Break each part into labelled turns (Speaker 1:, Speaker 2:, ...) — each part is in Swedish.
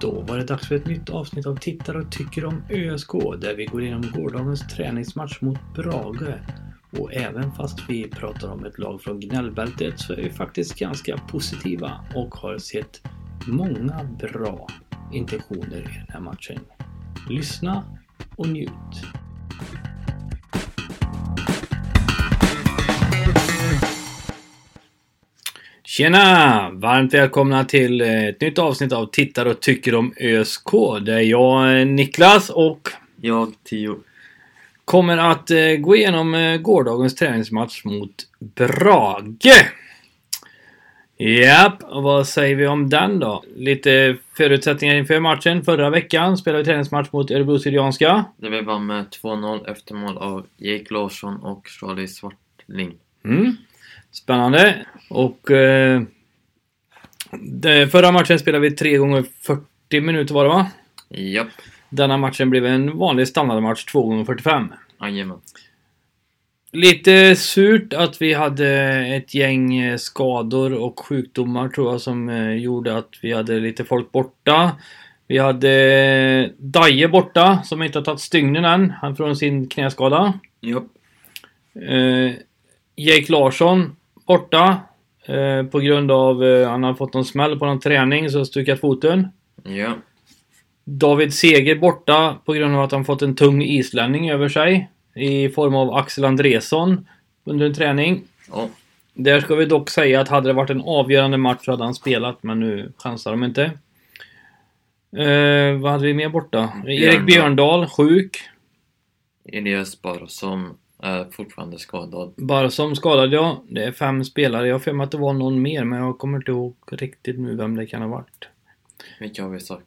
Speaker 1: Då var det dags för ett nytt avsnitt av Tittar och tycker om ÖSK där vi går igenom gårdagens träningsmatch mot Brage. Och även fast vi pratar om ett lag från gnällbältet så är vi faktiskt ganska positiva och har sett många bra intentioner i den här matchen. Lyssna och njut! Tjena! Varmt välkomna till eh, ett nytt avsnitt av Tittar och tycker om ÖSK. Där jag, eh, Niklas och
Speaker 2: Ja, Tio.
Speaker 1: kommer att eh, gå igenom eh, gårdagens träningsmatch mot Brage. Japp, och vad säger vi om den då? Lite förutsättningar inför matchen. Förra veckan spelade vi träningsmatch mot Örebro Syrianska.
Speaker 2: Där vi vann med 2-0 efter mål av Jake Larsson och Charlie Svartling.
Speaker 1: Mm. Spännande. Och... Eh, det- förra matchen spelade vi 3 gånger 40 minuter var det va?
Speaker 2: Japp,
Speaker 1: Denna matchen blev en vanlig standardmatch 2 gånger 45
Speaker 2: jajamän.
Speaker 1: Lite surt att vi hade ett gäng eh, skador och sjukdomar tror jag som eh, gjorde att vi hade lite folk borta. Vi hade eh, Daje borta som inte har tagit stygnen än. Han från sin knäskada.
Speaker 2: Japp.
Speaker 1: Eh, Jake Larsson borta. Eh, på grund av eh, han har fått någon smäll på någon träning så har stukat foten.
Speaker 2: Ja.
Speaker 1: David Seger borta på grund av att han fått en tung islänning över sig. I form av Axel Andresson under en träning.
Speaker 2: Ja.
Speaker 1: Där ska vi dock säga att hade det varit en avgörande match så hade han spelat, men nu chansar de inte. Eh, vad hade vi mer borta? Erik Björndal, sjuk.
Speaker 2: Elias Barsom är fortfarande skadad.
Speaker 1: Barsom skadad jag. Det är fem spelare. Jag har för mig att det var någon mer, men jag kommer inte ihåg riktigt nu vem det kan ha varit.
Speaker 2: Vilka har vi sagt?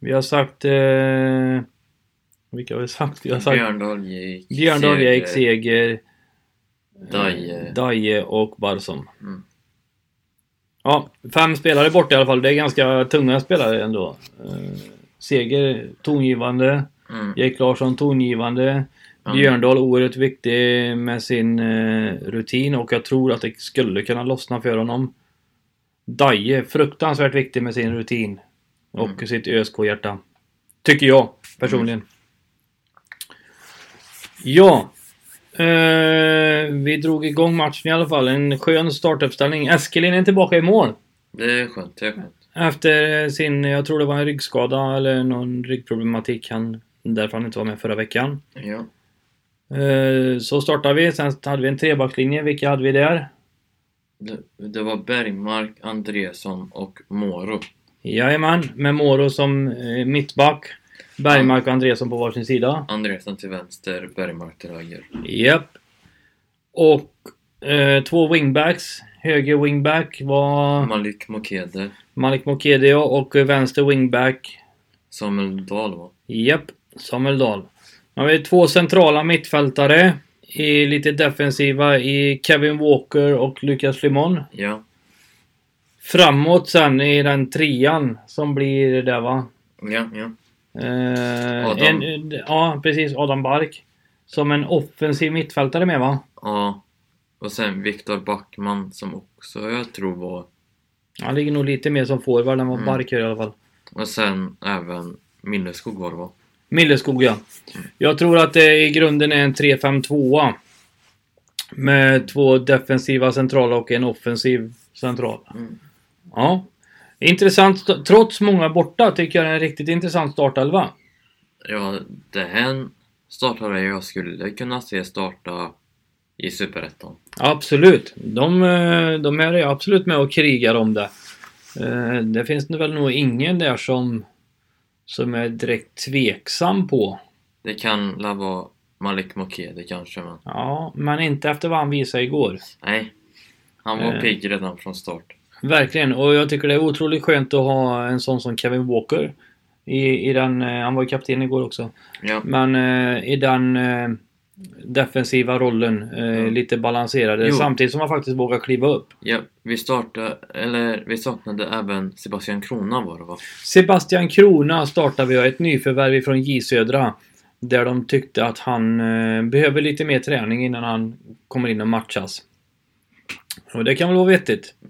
Speaker 1: Vi har sagt... Eh, vilka har vi sagt? Vi har sagt
Speaker 2: Björndal, Jake,
Speaker 1: Björndal, Erik, Seger, eh,
Speaker 2: Daje.
Speaker 1: Daje och Barsom.
Speaker 2: Mm.
Speaker 1: Ja, fem spelare bort i alla fall. Det är ganska tunga spelare ändå. Eh, Seger, tongivande.
Speaker 2: Mm.
Speaker 1: Jake Larsson, tongivande.
Speaker 2: Ja.
Speaker 1: Björndal, oerhört viktig med sin eh, rutin och jag tror att det skulle kunna lossna för honom. Daje, fruktansvärt viktig med sin rutin. Och
Speaker 2: Mm.
Speaker 1: sitt ÖSK-hjärta. Tycker jag, personligen. Ja. Eh, vi drog igång matchen i alla fall. En skön startuppställning. Eskelin är tillbaka i mål.
Speaker 2: Det är skönt, det är skönt.
Speaker 1: Efter sin, jag tror det var en ryggskada eller någon ryggproblematik. Han, därför han inte var med förra veckan.
Speaker 2: Ja.
Speaker 1: Eh, Så startade vi, sen hade vi en trebackslinje. Vilka hade vi där?
Speaker 2: Det, det var Bergmark, Andresson och Moro.
Speaker 1: Jajamän, med Moro som eh, mittback. Bergmark och Andresson på varsin sida.
Speaker 2: Andresson till vänster, Bergmark till höger.
Speaker 1: Japp. Och eh, två wingbacks. Höger wingback var
Speaker 2: Malik Mokede,
Speaker 1: Malik Mokedio och eh, vänster wingback
Speaker 2: Samuel Dahl va?
Speaker 1: Japp, Samuel Dahl. Nu har vi två centrala mittfältare. I lite defensiva i Kevin Walker och Lucas Limon.
Speaker 2: Ja.
Speaker 1: Framåt sen i den trean som blir det där va?
Speaker 2: Ja, ja.
Speaker 1: Eh,
Speaker 2: Adam.
Speaker 1: En, ja, precis. Adam Bark. Som en offensiv mittfältare med va?
Speaker 2: Ja. Och sen Viktor Backman som också jag tror var...
Speaker 1: Han ligger nog lite mer som forward än vad
Speaker 2: Mm.
Speaker 1: Bark gör i alla fall.
Speaker 2: Och sen även Milleskog var det va?
Speaker 1: Milleskog ja. Jag tror att det i grunden är en 3-5-2. Med två defensiva centrala och en offensiv central.
Speaker 2: Mm.
Speaker 1: Ja. Intressant. Trots många borta tycker jag det är en riktigt intressant startelva.
Speaker 2: Ja, det här startade jag skulle kunna se starta i Superettan.
Speaker 1: Absolut. De, eh, de här är absolut med och krigar om det. Eh, Det finns det väl nog ingen där som, som är direkt tveksam på.
Speaker 2: Det kan la vara Malik Mokede kanske men...
Speaker 1: Ja, men inte efter vad han visade igår.
Speaker 2: Nej. Han var
Speaker 1: Eh.
Speaker 2: pigg redan från start.
Speaker 1: Verkligen, och jag tycker det är otroligt skönt att ha en sån som Kevin Walker. I, i den, eh, han var ju kapten igår också.
Speaker 2: Ja.
Speaker 1: Men eh, i den eh, defensiva rollen, eh,
Speaker 2: Ja.
Speaker 1: lite balanserade.
Speaker 2: Jo.
Speaker 1: Samtidigt som han faktiskt vågar kliva upp.
Speaker 2: ja. Vi startade... Eller vi saknade även Sebastian Krona var det va?
Speaker 1: Sebastian Krona startar vi ett nyförvärv från J Södra. Där de tyckte att han eh, behöver lite mer träning innan han kommer in och matchas. Och det kan väl vara vettigt.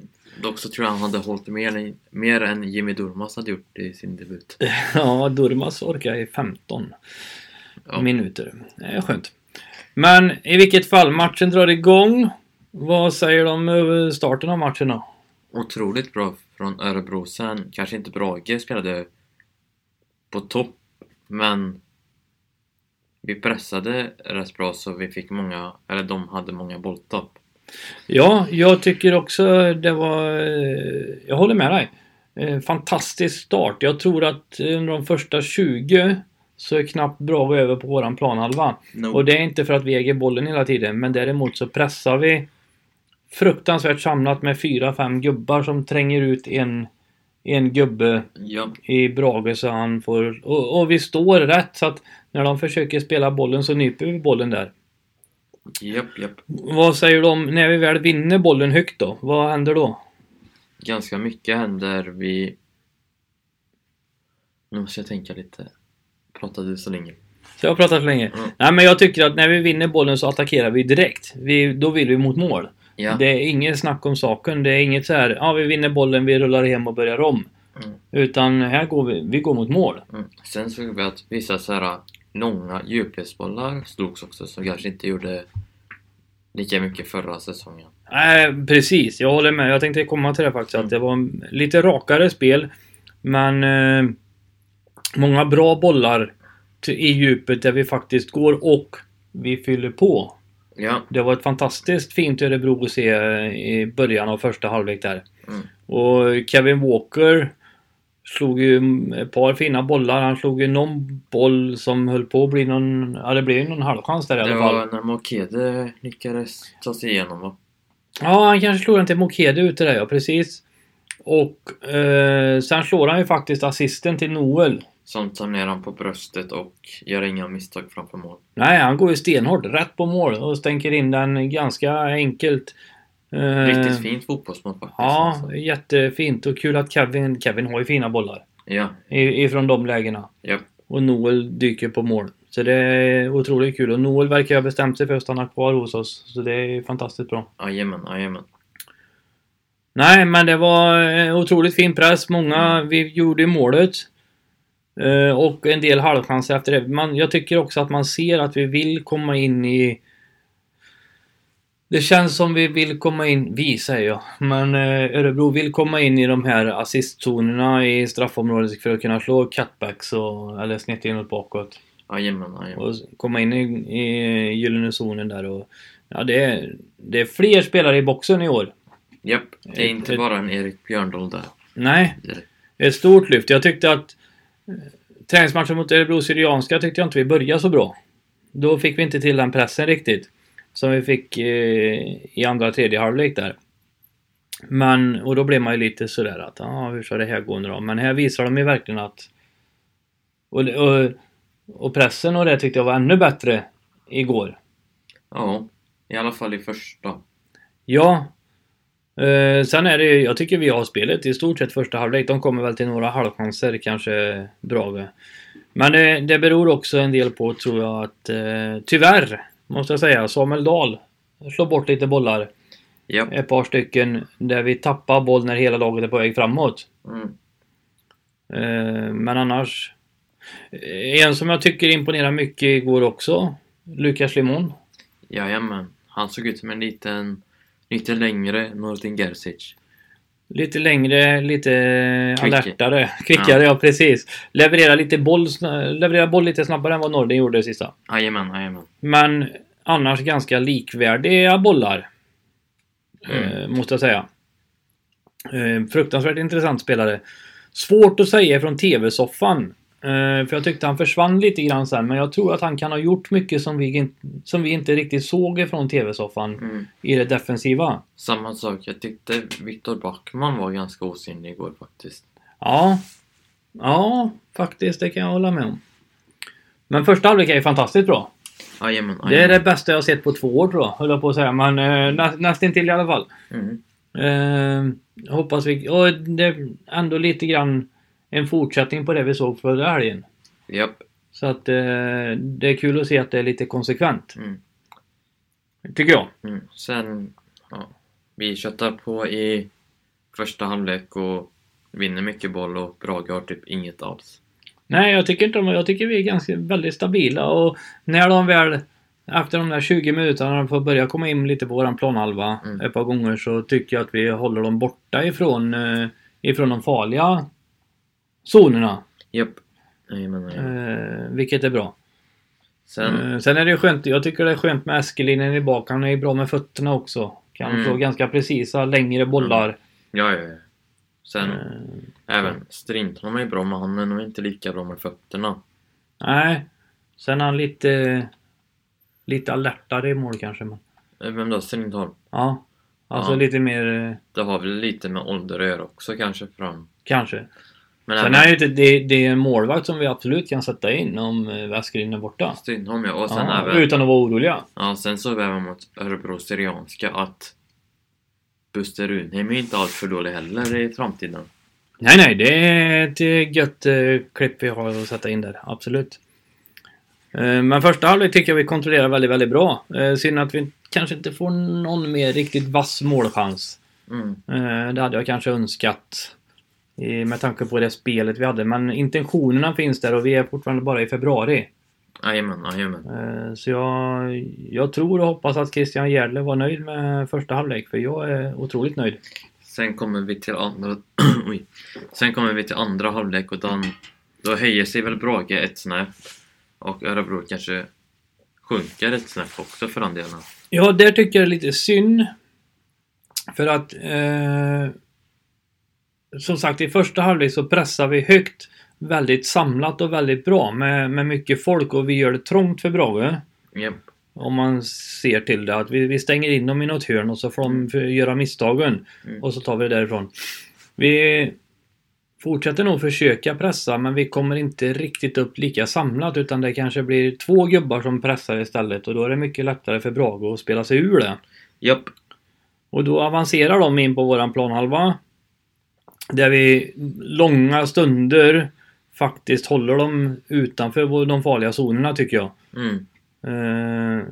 Speaker 2: Dock så tror jag han hade hållit mer, än- mer än Jimmy Durmaz hade gjort i sin debut.
Speaker 1: Ja, Durmaz orkar i 15
Speaker 2: Ja.
Speaker 1: minuter. Det är skönt. Men i vilket fall, matchen drar igång. Vad säger de om starten av matchen då?
Speaker 2: Otroligt bra från Örebro. Sen kanske inte Brage spelade på topp, men vi pressade rätt bra så vi fick många, eller de hade många bolltopp.
Speaker 1: Ja, jag tycker också det var... eh, Jag håller med dig. Eh, Fantastisk start. Jag tror att under de första 20 så är knappt Brage över på våran planhalva. Och det är inte för att vi äger bollen hela tiden, men däremot så pressar vi fruktansvärt samlat med 4-5 gubbar som tränger ut en, en gubbe
Speaker 2: Ja,
Speaker 1: i Brage så han får... Och, och vi står rätt så att när de försöker spela bollen så nyper vi bollen där.
Speaker 2: japp, japp.
Speaker 1: Vad säger de när vi väl vinner bollen högt då? Vad händer då?
Speaker 2: Ganska mycket händer. Vi... Nu måste jag tänka lite. Pratade du så länge?
Speaker 1: Så jag har pratat för länge.
Speaker 2: Mm.
Speaker 1: Nej men jag tycker att när vi vinner bollen så attackerar vi direkt. Vi, då vill vi mot mål.
Speaker 2: Ja.
Speaker 1: Det är inget snack om saken. Det är inget så här, ja vi vinner bollen, vi rullar hem och börjar om.
Speaker 2: Mm.
Speaker 1: Utan här går vi, vi går mot mål.
Speaker 2: Mm. Sen såg vi att vissa så här långa djupledsbollar slogs också som kanske inte gjorde lika mycket förra säsongen.
Speaker 1: Nej, precis. Jag håller med. Jag tänkte komma till det faktiskt.
Speaker 2: Mm.
Speaker 1: Att det var lite rakare spel. Men eh, många bra bollar till- i djupet där vi faktiskt går och vi fyller på.
Speaker 2: Ja,
Speaker 1: Det var ett fantastiskt fint Örebro att se eh, i början av första halvlek där.
Speaker 2: Mm.
Speaker 1: Och Kevin Walker slog ju ett par fina bollar. Han slog ju någon boll som höll på att bli någon... Ja, det blev ju någon halvchans där i
Speaker 2: det
Speaker 1: alla fall.
Speaker 2: var när Mokede lyckades ta sig igenom va?
Speaker 1: Ja, han kanske slår den till Mokede ute där ja, precis. Och eh, sen slår han ju faktiskt assisten till Noel.
Speaker 2: Som tar ner honom på bröstet och gör inga misstag framför mål.
Speaker 1: Nej, han går ju stenhårt rätt på mål och stänker in den ganska enkelt. Eh,
Speaker 2: Riktigt fint fotbollsmål faktiskt.
Speaker 1: Ja,
Speaker 2: alltså.
Speaker 1: jättefint och kul att Kevin, Kevin har ju fina bollar
Speaker 2: ja,
Speaker 1: i- ifrån de lägena.
Speaker 2: ja.
Speaker 1: Och Noel dyker på mål. Så det är otroligt kul och Noel verkar ha bestämt sig för att stanna kvar hos oss. Så det är fantastiskt bra.
Speaker 2: Jajamän, jajamän.
Speaker 1: Nej, men det var eh, otroligt fin press. Många, vi gjorde ju målet. Eh, Och en del halvchanser efter det. Man, jag tycker också att man ser att vi vill komma in i... Det känns som vi vill komma in, vi säger jag, men eh, Örebro vill komma in i de här assistzonerna i straffområdet för att kunna slå cutbacks och, eller snett inåt bakåt.
Speaker 2: Jajamän, jajamän.
Speaker 1: Och komma in i, i gyllene zonen där och... Ja, det är, det är fler spelare i boxen i år.
Speaker 2: Japp, det är inte
Speaker 1: Ett-
Speaker 2: bara en Erik Björndahl där.
Speaker 1: Nej,
Speaker 2: Det är det.
Speaker 1: ett stort lyft. Jag tyckte att eh, träningsmatchen mot Örebro Syrianska tyckte jag inte vi började så bra. Då fick vi inte till den pressen riktigt. Som vi fick eh, i andra tredje halvlek där. Men, och då blev man ju lite sådär att, ja ah, hur ska det här gå nu då? Men här visar de ju verkligen att... Och, och, och pressen och det tyckte jag var ännu bättre igår.
Speaker 2: Ja, i alla fall i första.
Speaker 1: Ja. Eh, sen är det ju- jag tycker vi har spelet i stort sett första halvlek. De kommer väl till några halvchanser kanske Brage. Men det, det beror också en del på tror jag att eh, tyvärr måste jag säga Samuel Dahl slår bort lite bollar.
Speaker 2: Japp.
Speaker 1: Ett par stycken där vi tappar boll när hela laget är på väg framåt.
Speaker 2: Mm.
Speaker 1: Eh, men annars. Eh, En som jag tycker imponerar mycket igår också. Lukas Limon.
Speaker 2: Jajamän. Han såg ut som en liten, lite längre Nordin Gerzic.
Speaker 1: Lite längre, lite
Speaker 2: Kvickie.
Speaker 1: alertare, kvickare, ja. precis. Leverera lite boll, sna- leverera boll lite snabbare än vad Norden gjorde sista.
Speaker 2: Jajamän, jajamän.
Speaker 1: Men annars ganska likvärdiga bollar.
Speaker 2: Mm.
Speaker 1: Eh, måste jag säga. Eh, fruktansvärt intressant spelare. Svårt att säga från TV-soffan. Eh, för jag tyckte han försvann lite grann sen, men jag tror att han kan ha gjort mycket som vi, in- som vi inte riktigt såg från TV-soffan
Speaker 2: Mm.
Speaker 1: i det defensiva.
Speaker 2: Samma sak, jag tyckte Viktor Backman var ganska osynlig igår faktiskt.
Speaker 1: Ja. Ja, faktiskt. Det kan jag hålla med om. Men första halvlek är ju fantastiskt bra.
Speaker 2: Jajamän, jajamän.
Speaker 1: Det är det bästa jag har sett på två år tror jag, höll jag på att säga. Men eh, nä, nästintill i alla fall.
Speaker 2: Mm.
Speaker 1: Eh, hoppas vi... Och det är ändå lite grann en fortsättning på det vi såg förra helgen.
Speaker 2: Japp.
Speaker 1: Så att eh, det är kul att se att det är lite konsekvent.
Speaker 2: Mm.
Speaker 1: Tycker jag.
Speaker 2: Mm. Sen, ja. Vi köttar på i första halvlek och vinner mycket boll och Brage har typ inget alls.
Speaker 1: Nej, jag tycker inte de, Jag tycker vi är ganska väldigt stabila och när de väl efter de där 20 minuterna när de får börja komma in lite på våran planhalva
Speaker 2: Mm.
Speaker 1: ett par gånger så tycker jag att vi håller dem borta ifrån, eh, ifrån de farliga zonerna.
Speaker 2: Japp. Jag menar, det.
Speaker 1: Eh, vilket är bra.
Speaker 2: Sen,
Speaker 1: Eh, sen är det ju skönt, jag tycker det är skönt med Eskelinen i bak. Han är ju bra med fötterna också. Kan
Speaker 2: Mm.
Speaker 1: slå ganska precisa, längre bollar.
Speaker 2: ja, ja, ja. Sen
Speaker 1: Eh,
Speaker 2: även Strindholm är bra med handen och inte lika bra med fötterna.
Speaker 1: nej. Sen är han lite... Lite alertare i mål kanske. Men,
Speaker 2: Eh, Vem då? Strindholm?
Speaker 1: ja. Alltså
Speaker 2: Ja.
Speaker 1: lite mer... eh,
Speaker 2: Det har väl lite med ålder att göra också kanske fram.
Speaker 1: Kanske.
Speaker 2: Men
Speaker 1: Sen
Speaker 2: även
Speaker 1: är det, inte- det, det är en målvakt som vi absolut kan sätta in om eh, Eskelin är borta.
Speaker 2: Strindholm ja, och sen
Speaker 1: Ja,
Speaker 2: även...
Speaker 1: Utan att vara oroliga.
Speaker 2: Ja, sen så är vi mot Örebro Syrianska att Buster Runheim är inte alltför dålig heller i framtiden.
Speaker 1: Nej, nej, det är ett eh, gött eh, klipp vi har att sätta in där. Absolut. Eh, men första halvlek tycker jag vi kontrollerar väldigt, väldigt bra. Eh, synd att vi kanske inte får någon mer riktigt vass målchans.
Speaker 2: Mm.
Speaker 1: Eh, det hade jag kanske önskat. eh, Med tanke på det spelet vi hade. Men intentionerna finns där och vi är fortfarande bara i februari.
Speaker 2: Jajamän, jajamän.
Speaker 1: Eh, Så jag, jag tror och hoppas att Christian Gärdle var nöjd med första halvlek. För jag är otroligt nöjd.
Speaker 2: Sen kommer vi till andra... Oj. Sen kommer vi till andra halvlek och den, då höjer sig väl Brage ett snäpp. Och Örebro kanske sjunker ett snäpp också för den delen.
Speaker 1: Ja, där tycker jag det är lite synd. För att... Eh, som sagt, i första halvlek så pressar vi högt. Väldigt samlat och väldigt bra med, med mycket folk och vi gör det trångt för Brage.
Speaker 2: Japp.
Speaker 1: Om man ser till det. Att vi, vi stänger in dem i något hörn och så får de f- göra misstagen.
Speaker 2: Mm.
Speaker 1: Och så tar vi det därifrån. Vi fortsätter nog försöka pressa men vi kommer inte riktigt upp lika samlat utan det kanske blir två gubbar som pressar istället och då är det mycket lättare för Brage att spela sig ur det.
Speaker 2: Japp.
Speaker 1: Och då avancerar de in på våran planhalva. Där vi långa stunder faktiskt håller dem utanför vår- de farliga zonerna tycker jag.
Speaker 2: Mm.
Speaker 1: Eh,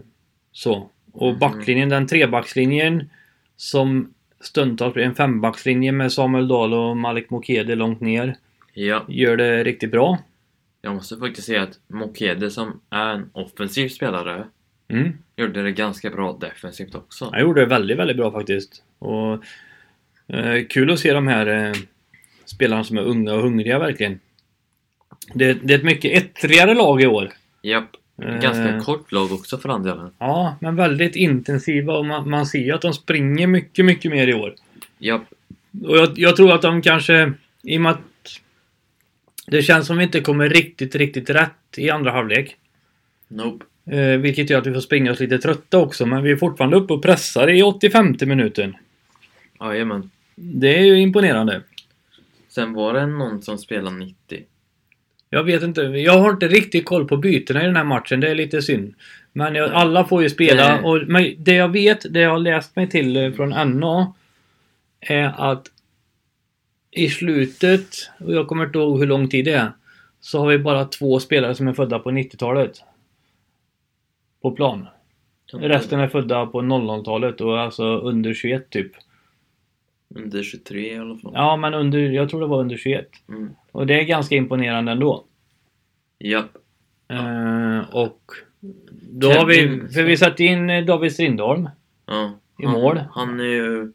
Speaker 1: så. Och
Speaker 2: Mm.
Speaker 1: backlinjen, den trebackslinjen som stundtals blir en fembackslinje med Samuel Dahl och Malik Mokede långt ner.
Speaker 2: Ja.
Speaker 1: Gör det riktigt bra.
Speaker 2: Jag måste faktiskt säga att Mokede som är en offensiv spelare
Speaker 1: Mm.
Speaker 2: gjorde det ganska bra defensivt också.
Speaker 1: Han gjorde det väldigt, väldigt bra faktiskt. Och, eh, kul att se de här eh, spelarna som är unga och hungriga verkligen. Det, det är ett mycket ettrigare lag i år.
Speaker 2: Japp. Ganska
Speaker 1: Eh.
Speaker 2: kort lag också för den delen.
Speaker 1: Ja, men väldigt intensiva och man, man ser ju att de springer mycket, mycket mer i år.
Speaker 2: Japp.
Speaker 1: Och jag, jag tror att de kanske, i och med att det känns som vi inte kommer riktigt, riktigt rätt i andra halvlek.
Speaker 2: Nope.
Speaker 1: Eh, vilket gör att vi får springa oss lite trötta också, men vi är fortfarande uppe och pressar i 85 minuten.
Speaker 2: Jajamän.
Speaker 1: Det är ju imponerande.
Speaker 2: Sen var det någon som spelade 90.
Speaker 1: Jag vet inte, jag har inte riktigt koll på bytena i den här matchen, det är lite synd. Men jag, alla får ju spela
Speaker 2: Nej.
Speaker 1: och men det jag vet, det jag har läst mig till eh, från NA är att i slutet, och jag kommer inte ihåg hur lång tid det är, så har vi bara två spelare som är födda på 90-talet. På plan. Resten är födda på 00-talet och alltså under 21 typ.
Speaker 2: Under 23 i alla fall.
Speaker 1: Ja, men under, jag tror det var under 21.
Speaker 2: Mm.
Speaker 1: Och det är ganska imponerande ändå.
Speaker 2: Japp.
Speaker 1: Eh, och då
Speaker 2: Kevin-
Speaker 1: har vi, för vi satte in eh, David Strindholm.
Speaker 2: Ja.
Speaker 1: I mål.
Speaker 2: Han är ju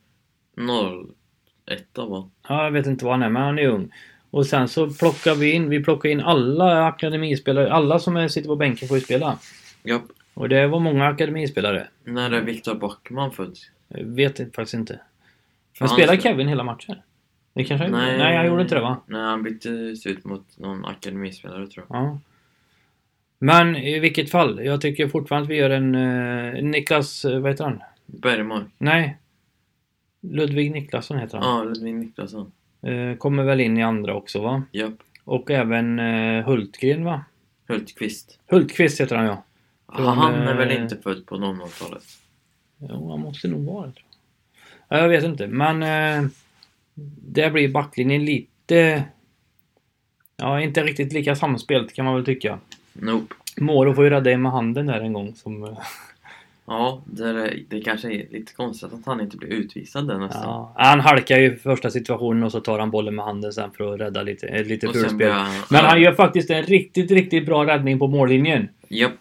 Speaker 2: 01 va?
Speaker 1: Ja, jag vet inte vad han är, men han är ung. Och sen så plockar vi in, vi plockar in alla akademispelare, alla som är- sitter på bänken får ju spela.
Speaker 2: Japp.
Speaker 1: Och det var många akademispelare.
Speaker 2: När är Viktor Backman född?
Speaker 1: Jag vet inte- faktiskt inte.
Speaker 2: Han
Speaker 1: Men spelar
Speaker 2: spe-
Speaker 1: Kevin hela matchen? Det kanske Nej. Nej, han gjorde inte det va?
Speaker 2: Nej, han byttes ut mot någon akademispelare tror jag.
Speaker 1: Ja. Men i vilket fall, jag tycker fortfarande att vi gör en... Eh, Niklas, eh, vad heter han?
Speaker 2: Bergmark.
Speaker 1: Nej. Ludvig Niklasson heter han.
Speaker 2: Ja, Ludvig Niklasson.
Speaker 1: Eh, kommer väl in i andra också va?
Speaker 2: Japp.
Speaker 1: Och även eh, Hultgren va?
Speaker 2: Hultqvist.
Speaker 1: Hultqvist heter han ja. Från,
Speaker 2: Han är väl
Speaker 1: eh,
Speaker 2: inte född på 00-talet?
Speaker 1: Jo, han måste nog vara det. tror jag. Ja, jag vet inte, men... Eh, där blir backlinjen lite... Ja, inte riktigt lika samspelt kan man väl tycka.
Speaker 2: Nope.
Speaker 1: Moro får ju rädda en med handen där en gång som... eh,
Speaker 2: Ja, det, är, det kanske är lite konstigt att han inte blir utvisad där nästan.
Speaker 1: Ja, han halkar ju första situationen och så tar han bollen med handen sen för att rädda lite, ett litet
Speaker 2: Och sen
Speaker 1: fulspel.
Speaker 2: blir han...
Speaker 1: Men han
Speaker 2: ja,
Speaker 1: gör faktiskt en riktigt, riktigt bra räddning på mållinjen.
Speaker 2: Japp.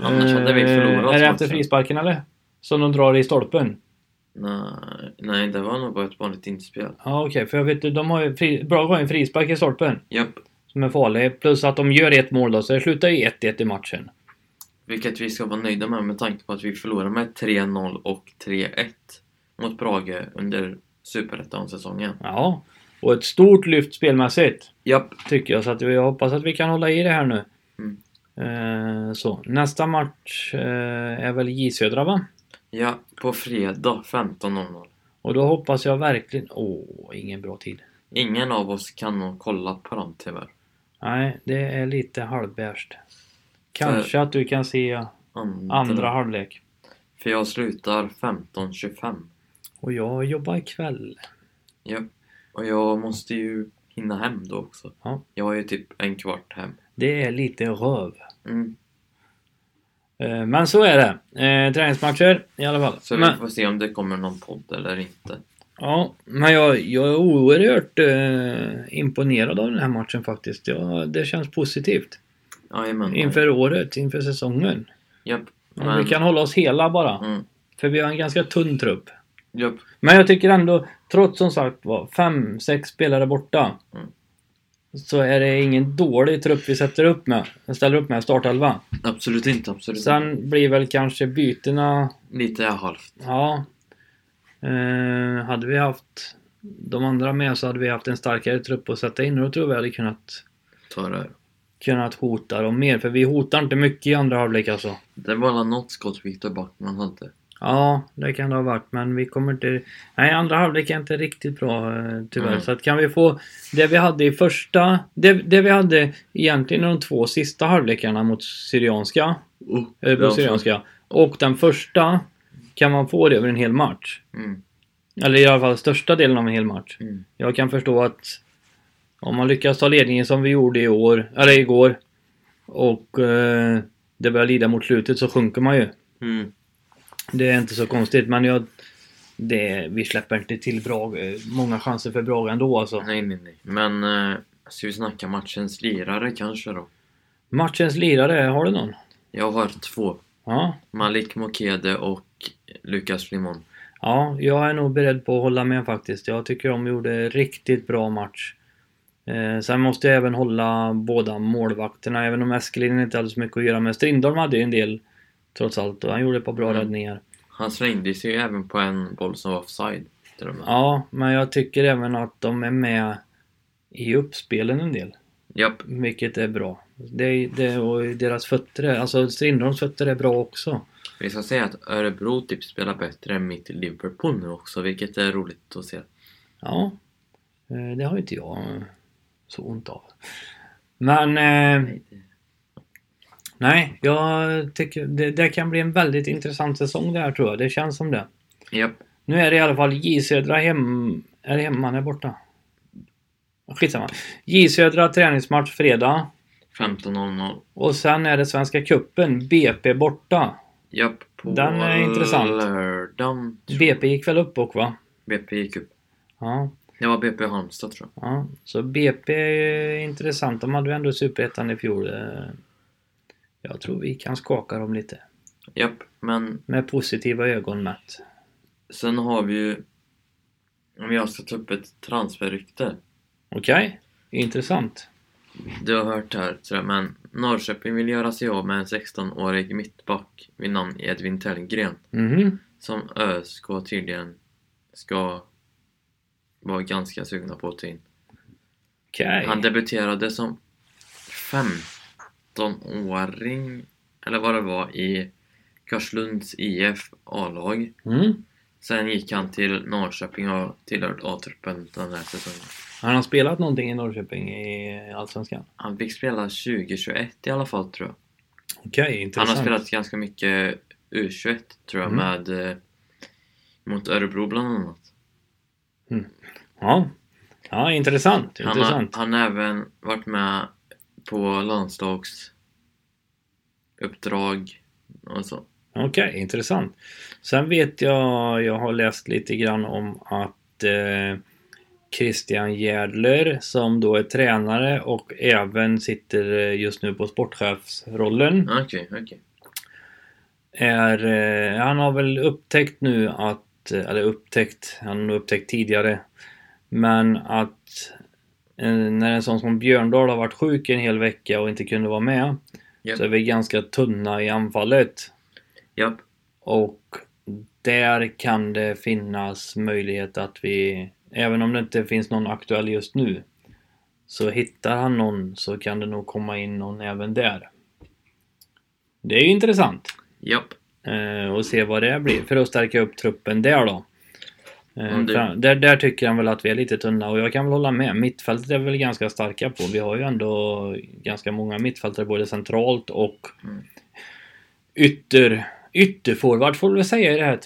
Speaker 2: Annars hade vi
Speaker 1: Eh,
Speaker 2: förlorat.
Speaker 1: Är det
Speaker 2: matchen.
Speaker 1: efter frisparken eller? Som de drar i stolpen?
Speaker 2: Nej, nej, det var nog bara ett vanligt inspel.
Speaker 1: Ja okej, för jag vet ju, de har ju fri, bra gång en frispark i stolpen.
Speaker 2: Japp.
Speaker 1: Som är farlig. Plus att de gör ett mål då, så det slutar ju 1-1 i matchen.
Speaker 2: Vilket vi ska vara nöjda med med tanke på att vi förlorade med 3-0 och 3-1 mot Brage under Superettan-säsongen.
Speaker 1: Ja. Och ett stort lyft spelmässigt.
Speaker 2: Japp.
Speaker 1: Tycker jag, så att jag hoppas att vi kan hålla i det här nu.
Speaker 2: Mm.
Speaker 1: Eh, så. Nästa match eh, är väl J Södra va?
Speaker 2: Ja, på fredag 15.00.
Speaker 1: Och då hoppas jag verkligen... Åh, ingen bra tid.
Speaker 2: Ingen av oss kan nog kolla på dem tyvärr.
Speaker 1: Nej, det är lite halvbärst. Kanske
Speaker 2: Eh.
Speaker 1: att du kan se
Speaker 2: Andra.
Speaker 1: andra halvlek.
Speaker 2: För jag slutar 15.25.
Speaker 1: Och jag jobbar ikväll.
Speaker 2: Japp. Och jag måste ju hinna hem då också.
Speaker 1: Ja.
Speaker 2: Jag är ju typ en kvart hem.
Speaker 1: Det är lite röv.
Speaker 2: Mm.
Speaker 1: Eh, Men så är det. Eh, träningsmatcher i alla fall.
Speaker 2: Så
Speaker 1: men,
Speaker 2: vi får se om det kommer någon podd eller inte.
Speaker 1: ja, men jag, jag är oerhört eh, imponerad av den här matchen faktiskt. Ja, det känns positivt.
Speaker 2: Jajamän.
Speaker 1: Inför året, inför säsongen.
Speaker 2: Japp.
Speaker 1: Om
Speaker 2: Men...
Speaker 1: vi kan hålla oss hela bara.
Speaker 2: Mm.
Speaker 1: För vi har en ganska tunn trupp.
Speaker 2: Japp.
Speaker 1: Men jag tycker ändå, trots som sagt var fem, sex spelare borta.
Speaker 2: Mm.
Speaker 1: Så är det ingen dålig trupp vi sätter upp med. Vi ställer upp med startelva.
Speaker 2: Mm. Absolut inte, absolut inte.
Speaker 1: Sen blir väl kanske bytena,
Speaker 2: Lite halvt.
Speaker 1: ja. Eh, hade vi haft de andra med så hade vi haft en starkare trupp att sätta in och då tror jag vi hade kunnat,
Speaker 2: Ta det. här.
Speaker 1: kunnat hota dem mer. För vi hotar inte mycket i andra halvlek alltså.
Speaker 2: Det var alla något skott Viktor Backman hade.
Speaker 1: Ja, det kan det ha varit, men vi kommer inte... Nej, andra halvlek är inte riktigt bra eh, tyvärr.
Speaker 2: Mm.
Speaker 1: Så att kan vi få det vi hade i första... Det, det vi hade egentligen i de två sista halvlekarna mot Syrianska,
Speaker 2: Oh,
Speaker 1: Örebro Syrianska, och den första kan man få det över en hel match.
Speaker 2: Mm,
Speaker 1: Eller i alla fall största delen av en hel match.
Speaker 2: mm,
Speaker 1: Jag kan förstå att om man lyckas ta ledningen som vi gjorde i år, eller igår, och eh, det börjar lida mot slutet så sjunker man ju.
Speaker 2: mm.
Speaker 1: Det är inte så konstigt, men jag... Det, vi släpper inte till bra, många chanser för Braga ändå alltså.
Speaker 2: Nej, nej, nej. Men eh, ska vi snacka matchens lirare kanske då?
Speaker 1: Matchens lirare, har du någon?
Speaker 2: Jag har två.
Speaker 1: Ja.
Speaker 2: Malik Mokede och Lukas Flimon.
Speaker 1: Ja, jag är nog beredd på att hålla med faktiskt. Jag tycker de gjorde riktigt bra match. Eh, sen måste jag även hålla båda målvakterna, även om Eskelin inte hade så mycket att göra med. Strindholm hade ju en del, trots allt, och han gjorde ett par bra
Speaker 2: Mm.
Speaker 1: räddningar.
Speaker 2: Han slängde sig ju även på en boll som var offside. till och med.
Speaker 1: Ja, men jag tycker även att de är med i uppspelen en del.
Speaker 2: Japp.
Speaker 1: Vilket är bra. Det, det, och deras fötter är, alltså Strindholms fötter är bra också.
Speaker 2: Vi ska säga att Örebro typ spelar bättre än mitt Liverpool nu också, vilket är roligt att se.
Speaker 1: Ja. Eh, Det har ju inte jag eh, så ont av. Men eh, nej, jag tycker det, det kan bli en väldigt intressant säsong det här tror jag. Det känns som det.
Speaker 2: Japp.
Speaker 1: Nu är det i alla fall J Södra hem... Är det hemma? Han är borta. Skitsamma. J Södra träningsmatch fredag.
Speaker 2: 15.00.
Speaker 1: Och sen är det Svenska Cupen, BP borta.
Speaker 2: Japp. På
Speaker 1: Den är intressant.
Speaker 2: lördagen. tror jag.
Speaker 1: BP gick väl upp och va?
Speaker 2: BP gick upp.
Speaker 1: Ja,
Speaker 2: Det var BP Halmstad tror jag.
Speaker 1: Ja, så BP är ju intressant. De hade ju ändå superettan i fjol. Eh, Jag tror vi kan skaka dem lite.
Speaker 2: Japp, men
Speaker 1: Med positiva ögon mätt.
Speaker 2: sen har vi ju... Om jag ska ta upp ett transferrykte.
Speaker 1: Okej, intressant.
Speaker 2: Du har hört här, tror jag, men Norrköping vill göra sig av med en 16-årig mittback vid namn Edvin Tellgren.
Speaker 1: Mhm.
Speaker 2: Som ÖSK tydligen ska vara ganska sugna på att ta in.
Speaker 1: Okej.
Speaker 2: Han debuterade som 15-åring, eller vad det var, i Karlslunds IF A-lag.
Speaker 1: Mm.
Speaker 2: Sen gick han till Norrköping och har tillhört A-truppen den här säsongen.
Speaker 1: Han har spelat någonting i Norrköping i Allsvenskan?
Speaker 2: Han fick spela 2021 i alla fall tror jag.
Speaker 1: Okej,
Speaker 2: Han
Speaker 1: intressant.
Speaker 2: har spelat ganska mycket U21 tror jag
Speaker 1: Mm.
Speaker 2: med eh, mot Örebro bland annat.
Speaker 1: Ja. Ja, intressant.
Speaker 2: Han har,
Speaker 1: intressant.
Speaker 2: han har även varit med på landslagsuppdrag och så.
Speaker 1: Okej, intressant. Sen vet jag, jag har läst lite grann om att eh, Christian Järdler som då är tränare och även sitter eh, just nu på sportchefsrollen.
Speaker 2: Ja, Ah, Okej, okej.
Speaker 1: är, eh, han har väl upptäckt nu att, eh, eller upptäckt, han har nog upptäckt tidigare, men att eh, när en sån som Björndal har varit sjuk en hel vecka och inte kunde vara med
Speaker 2: Japp.
Speaker 1: så är vi ganska tunna i anfallet.
Speaker 2: Japp.
Speaker 1: Och där kan det finnas möjlighet att vi, även om det inte finns någon aktuell just nu, så hittar han någon så kan det nog komma in någon även där. Det är ju intressant.
Speaker 2: Japp.
Speaker 1: Eh, och se vad det blir för att stärka upp truppen där då. Eh,
Speaker 2: Om du-
Speaker 1: fram- där, där tycker han väl att vi är lite tunna och jag kan väl hålla med. Mittfältet är vi väl ganska starka på. Vi har ju ändå ganska många mittfältare både centralt och
Speaker 2: Mm.
Speaker 1: ytter, ytterforward får vi väl säga i det här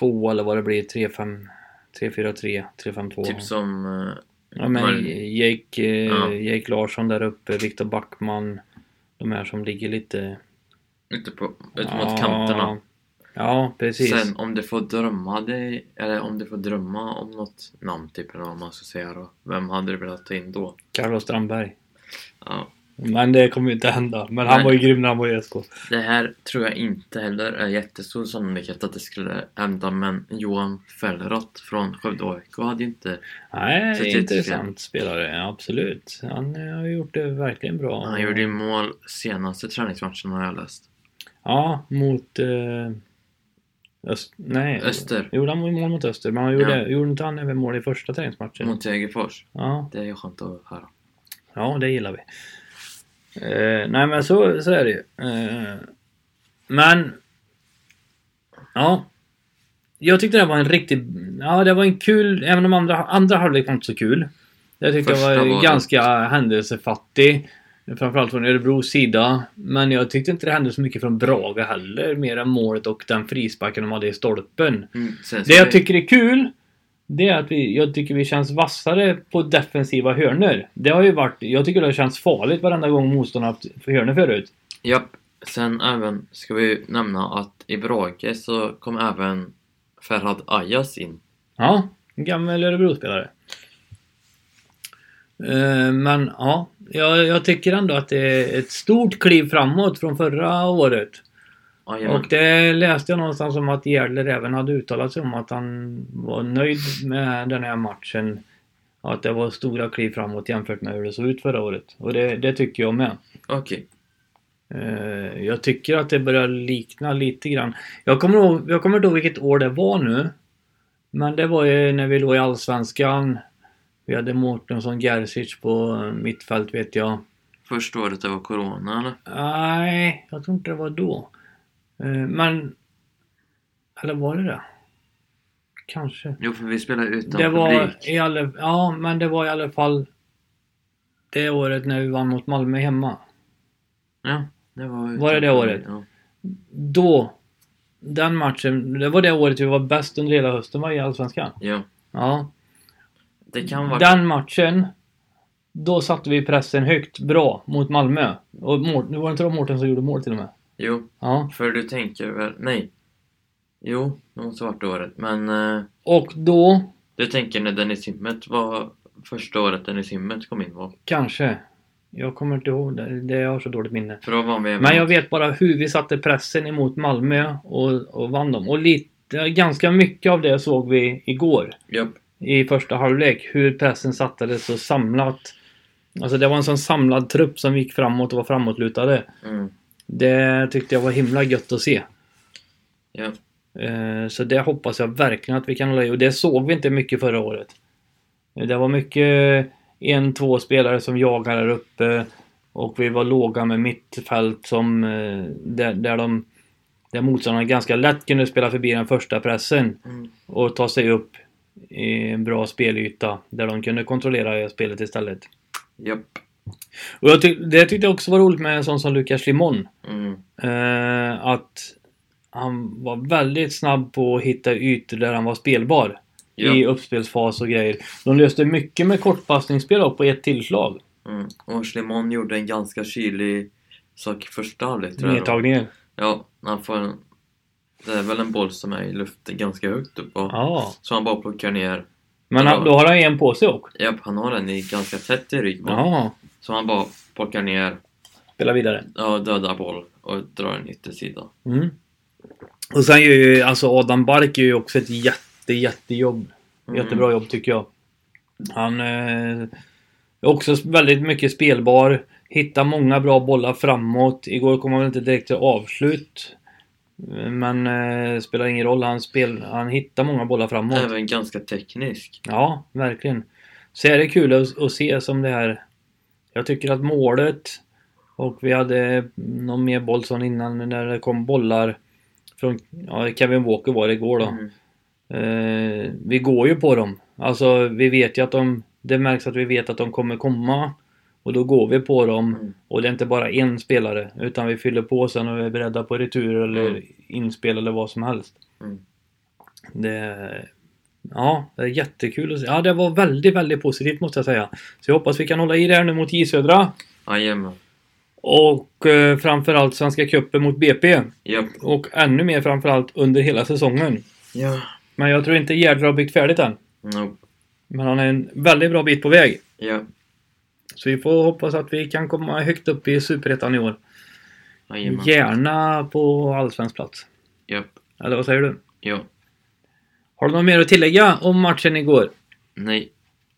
Speaker 1: 3-5-2 eller vad det blir. 3-5 3-4-3, 3-5-2.
Speaker 2: Typ som... eh,
Speaker 1: Ja, men
Speaker 2: Mar-
Speaker 1: Jake, eh,
Speaker 2: Ja.
Speaker 1: Jake Larsson där uppe, Viktor Backman. De här som ligger lite...
Speaker 2: Ute, på, ute
Speaker 1: Ah.
Speaker 2: mot kanterna.
Speaker 1: Ja, precis.
Speaker 2: Sen om du får drömma dig, eller om du får drömma om något namn typ eller vad man ska säga då. Vem hade du velat ta in då?
Speaker 1: Carlos Strandberg.
Speaker 2: Ja.
Speaker 1: Men det kommer ju inte hända. Men han
Speaker 2: Nej.
Speaker 1: var ju grym när han var i SK.
Speaker 2: Det här tror jag inte heller är jättestor sannolikhet att det skulle hända men Johan Fellroth från Skövde AIK hade ju inte...
Speaker 1: Nej,
Speaker 2: Så det är
Speaker 1: intressant spelare. Absolut. Han eh, har gjort det verkligen bra.
Speaker 2: Han gjorde ju mål senaste träningsmatchen har jag läst.
Speaker 1: Ja, mot... Eh, öst, nej.
Speaker 2: Öster.
Speaker 1: Gjorde han mål mot Öster? Men han gjorde,
Speaker 2: Ja.
Speaker 1: gjorde inte han även mål i första träningsmatchen?
Speaker 2: Mot Degerfors.
Speaker 1: Ja,
Speaker 2: Det är ju skönt att höra.
Speaker 1: Ja, det gillar vi. Eh, nej, men så, så är det ju. Eh, men... Ja. Jag tyckte det var en riktigt... Ja, det var en kul... Även om andra, andra halvlek var inte så kul. Jag tyckte
Speaker 2: Första
Speaker 1: det var,
Speaker 2: var det.
Speaker 1: ganska händelsefattig. Framförallt från Örebros sida. Men jag tyckte inte det hände så mycket från Braga heller. Mer än målet och den frisparken de hade i stolpen.
Speaker 2: Mm. Sen
Speaker 1: Det
Speaker 2: ska
Speaker 1: jag
Speaker 2: vi-
Speaker 1: tycker är kul det är att vi, jag tycker vi känns vassare på defensiva hörnor. Det har ju varit, jag tycker det har känts farligt varenda gång motståndarna haft hörnor förut.
Speaker 2: Japp. Sen även ska vi nämna att i Brage så kom även Ferhad Ayas in.
Speaker 1: Ja, en gammal Örebrospelare. Eh, Men ja, jag, jag tycker ändå att det är ett stort kliv framåt från förra året.
Speaker 2: Jajamän.
Speaker 1: Och det läste jag någonstans om att Gärdler även hade uttalat sig om att han var nöjd med den här matchen. Att det var stora kliv framåt jämfört med hur det såg ut förra året. Och det, det tycker jag med.
Speaker 2: Okej.
Speaker 1: Eh, Jag tycker att det börjar likna lite grann. Jag kommer, ihåg, jag kommer inte ihåg vilket år det var nu. Men det var ju när vi låg i Allsvenskan. Vi hade Mårtensson Gerzic på eh, mittfält vet jag.
Speaker 2: Första året det var corona eller?
Speaker 1: Nej, jag tror inte det var då. Eh, Men... Eller var det det? Kanske.
Speaker 2: Jo, för vi spelade utan
Speaker 1: Det var
Speaker 2: publik.
Speaker 1: i alla, ja, men det var i alla fall det året när vi vann mot Malmö hemma.
Speaker 2: Ja, det var utan
Speaker 1: Var det det
Speaker 2: publik,
Speaker 1: året?
Speaker 2: Ja.
Speaker 1: Då, den matchen, det var det året vi var bäst under hela hösten var i Allsvenskan.
Speaker 2: ja.
Speaker 1: Ja.
Speaker 2: Det kan vara...
Speaker 1: Den matchen, då satte vi pressen högt, bra, mot Malmö. Och Mårt- nu var det inte då Mårten som gjorde mål till och med.
Speaker 2: Jo,
Speaker 1: Ja.
Speaker 2: för du tänker väl... Nej. Jo, det måste ha varit det året. Men eh,
Speaker 1: Och då,
Speaker 2: du tänker när Dennis Himmet var... Första året Dennis Himmet kom in var.
Speaker 1: kanske. Jag kommer inte ihåg det, det jag har så dåligt minne.
Speaker 2: För då var vi...
Speaker 1: Men jag vet bara hur vi satte pressen emot Malmö och, och vann dem. Och lite, ganska mycket av det såg vi igår.
Speaker 2: Japp.
Speaker 1: i första halvlek hur pressen sattes så samlat. Alltså det var en sån samlad trupp som gick framåt och var framåtlutade.
Speaker 2: Mm.
Speaker 1: Det tyckte jag var himla gött att se.
Speaker 2: Ja.
Speaker 1: Eh, Så det hoppas jag verkligen att vi kan hålla i och det såg vi inte mycket förra året. Eh, Det var mycket en, två spelare som jagar där uppe och vi var låga med mittfält som eh, där, där de där motståndarna ganska lätt kunde spela förbi den första pressen
Speaker 2: Mm.
Speaker 1: och ta sig upp i en bra spelyta där de kunde kontrollera spelet istället.
Speaker 2: Japp.
Speaker 1: Och jag tyck- det tyckte jag också var roligt med en sån som Lukas Limon.
Speaker 2: Mm.
Speaker 1: Eh, att han var väldigt snabb på att hitta ytor där han var spelbar.
Speaker 2: Ja.
Speaker 1: I uppspelsfas och grejer. De löste mycket med kortpassningsspel då på ett tillslag.
Speaker 2: Mm. Och Schlimon gjorde en ganska kylig sak i första halvlek tror jag. då.
Speaker 1: Nedtagningar.
Speaker 2: Ja, han får en... Det är väl en boll som är i luften ganska högt upp och
Speaker 1: Ja.
Speaker 2: så han bara plockar ner.
Speaker 1: Men han, då har han ju en på sig också.
Speaker 2: Japp, han har den i ganska tätt i ryggen.
Speaker 1: Ja.
Speaker 2: Så han bara plockar ner,
Speaker 1: Spela vidare.
Speaker 2: ja, dödar boll och drar en yttersida.
Speaker 1: Mm. Och sen gör ju alltså Adam Bark gör ju också ett jätte, jättejobb.
Speaker 2: Mm.
Speaker 1: Jättebra jobb tycker jag. Han eh, är också väldigt mycket spelbar. Hittar många bra bollar framåt. Igår kom han väl inte direkt till avslut. Men eh, spelar ingen roll. Han, spel, han hittar många bollar framåt.
Speaker 2: Även ganska teknisk.
Speaker 1: Ja, verkligen. Så är det kul att, att se som det här. Jag tycker att målet och vi hade någon mer boll som innan när det kom bollar från ja, Kevin Walker var det igår då.
Speaker 2: Mm.
Speaker 1: Eh, vi går ju på dem. Alltså vi vet ju att de, det märks att vi vet att de kommer komma. Och då går vi på dem.
Speaker 2: Mm.
Speaker 1: Och det är inte bara en spelare. Utan vi fyller på sen och är beredda på retur eller
Speaker 2: Mm.
Speaker 1: inspel eller vad som helst.
Speaker 2: Mm.
Speaker 1: Det, ja, det är jättekul att se. Ja, det var väldigt, väldigt positivt måste jag säga. Så jag hoppas vi kan hålla i det här nu mot J Södra.
Speaker 2: Jajamän.
Speaker 1: Och eh, framförallt Svenska cupen mot BP.
Speaker 2: Japp.
Speaker 1: Och ännu mer framförallt under hela säsongen.
Speaker 2: Ja.
Speaker 1: Men jag tror inte Gerd har byggt färdigt än.
Speaker 2: No.
Speaker 1: Men han är en väldigt bra bit på väg.
Speaker 2: Ja.
Speaker 1: Så vi får hoppas att vi kan komma högt upp i Superettan i år.
Speaker 2: Jajamän.
Speaker 1: Gärna på allsvensk plats.
Speaker 2: Japp.
Speaker 1: Eller vad säger du?
Speaker 2: Ja.
Speaker 1: Har du något mer att tillägga om matchen igår?
Speaker 2: Nej.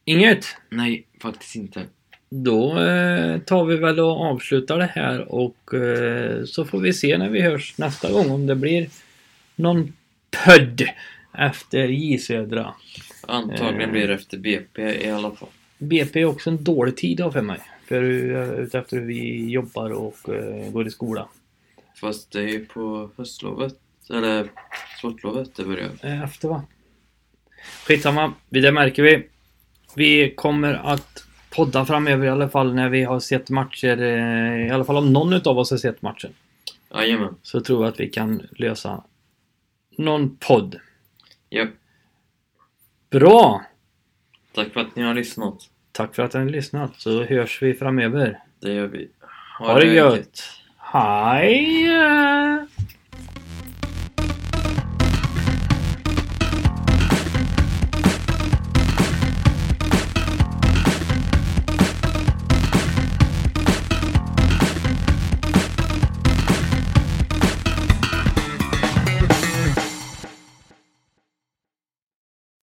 Speaker 1: Inget?
Speaker 2: Nej, faktiskt inte.
Speaker 1: Då eh, tar vi väl och avslutar det här och eh, så får vi se när vi hörs nästa gång om det blir någon pödd efter J Södra. Eh.
Speaker 2: Antagligen blir det efter BP i alla fall.
Speaker 1: BP är också en dålig tid av för mig. För eh, utefter hur vi jobbar och eh, går i skola.
Speaker 2: Fast det är ju på höstlovet, eller sportlovet det börjar.
Speaker 1: Eh, Efter va? Skitsamma, det märker vi. Vi kommer att podda framöver i alla fall när vi har sett matcher. eh, I alla fall om någon utav oss har sett matchen.
Speaker 2: Jajamän.
Speaker 1: så tror jag att vi kan lösa någon podd.
Speaker 2: Japp.
Speaker 1: Bra!
Speaker 2: Tack för att ni har lyssnat.
Speaker 1: Tack för att ni har lyssnat så hörs vi framöver.
Speaker 2: Det gör vi.
Speaker 1: Ha det gött! Hej!